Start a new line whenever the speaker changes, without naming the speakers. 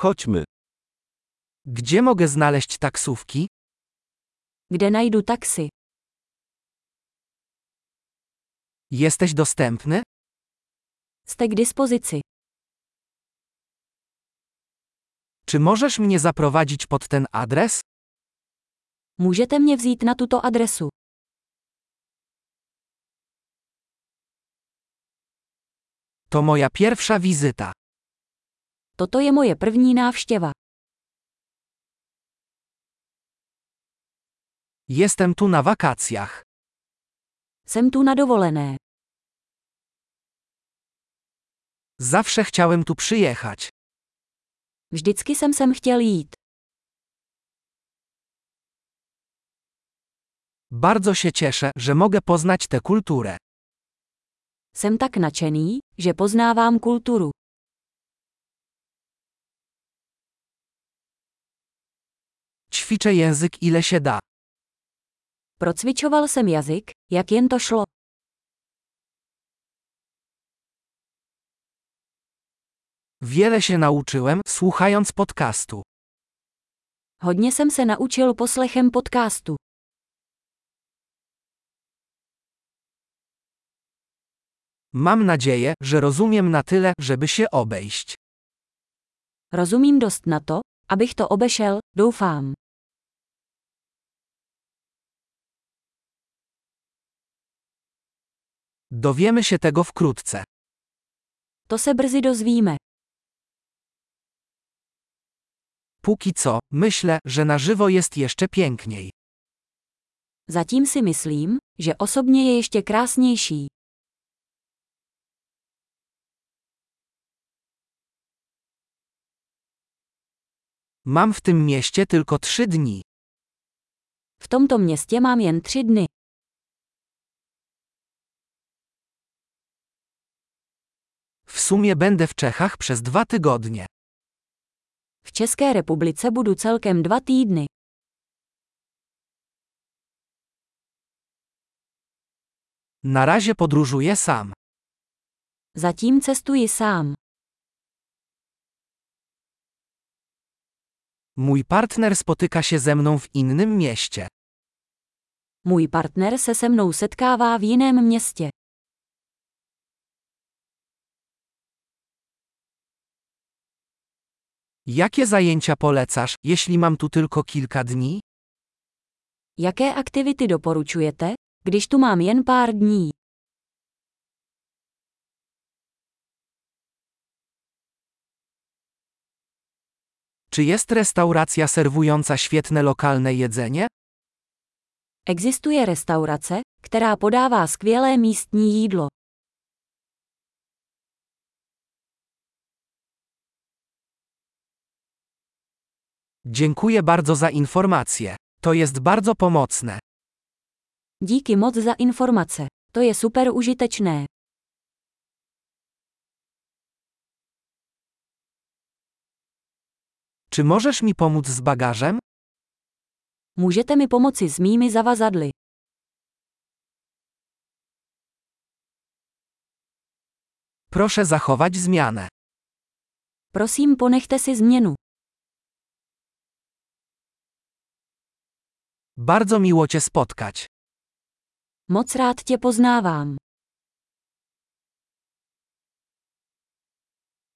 Chodźmy.
Gdzie mogę znaleźć taksówki?
Kde najdu taxi?
Jesteś dostępny?
Jste k dispozici.
Czy możesz mnie zaprowadzić pod ten adres?
Můžete mě vzít na tuto adresu.
To moja pierwsza wizyta.
Toto je moje první návštěva.
Jestem tu na wakacjach.
Jsem tu na dovolené.
Zawsze chciałem tu przyjechać.
Vždycky jsem sem chtěl jít.
Bardzo się cieszę, że mogę poznać tę kulturę.
Jsem tak nadšený, že poznávám kulturu.
Ćwiczę język ile się da.
Procvičoval jsem jazyk, jak jen to šlo.
Wiele się nauczyłem, słuchając podcastu.
Hodně jsem se naučil poslechem podcastu.
Mam nadzieję, że rozumiem na tyle, żeby się obejść.
Rozumím dost na to, abych to obešel, doufám.
Dowiemy się tego wkrótce.
To se brzy dozvíme.
Póki co, myślę, że na żywo jest jeszcze piękniej.
Zatím si myslím, že osobně je ještě krásnější.
Mam w tym mieście tylko trzy dni.
V tomto městě mám jen tři dny.
W sumie będę w Czechach przez dwa tygodnie.
V České republice budu celkem dva týdny.
Na razie podróżuję sam.
Zatím cestuji sám.
Mój partner spotyka się ze mną w innym mieście.
Můj partner se se mnou setkává v jiném městě.
Jakie zajęcia polecasz, jeśli mam tu tylko kilka dni?
Jaké aktivity doporučujete, když tu mám jen pár dní?
Czy jest restauracja serwująca świetne lokalne jedzenie?
Existuje restaurace, která podává skvělé místní jídlo.
Dziękuję bardzo za informacje. To jest bardzo pomocne.
Díky moc za informace. To je super užitečné.
Czy możesz mi pomóc z bagażem?
Můžete mi pomoci s mými zavazadly.
Proszę zachować zmianę.
Prosím, ponechte si změnu.
Bardzo miło Cię spotkać.
Moc rád tě poznávám.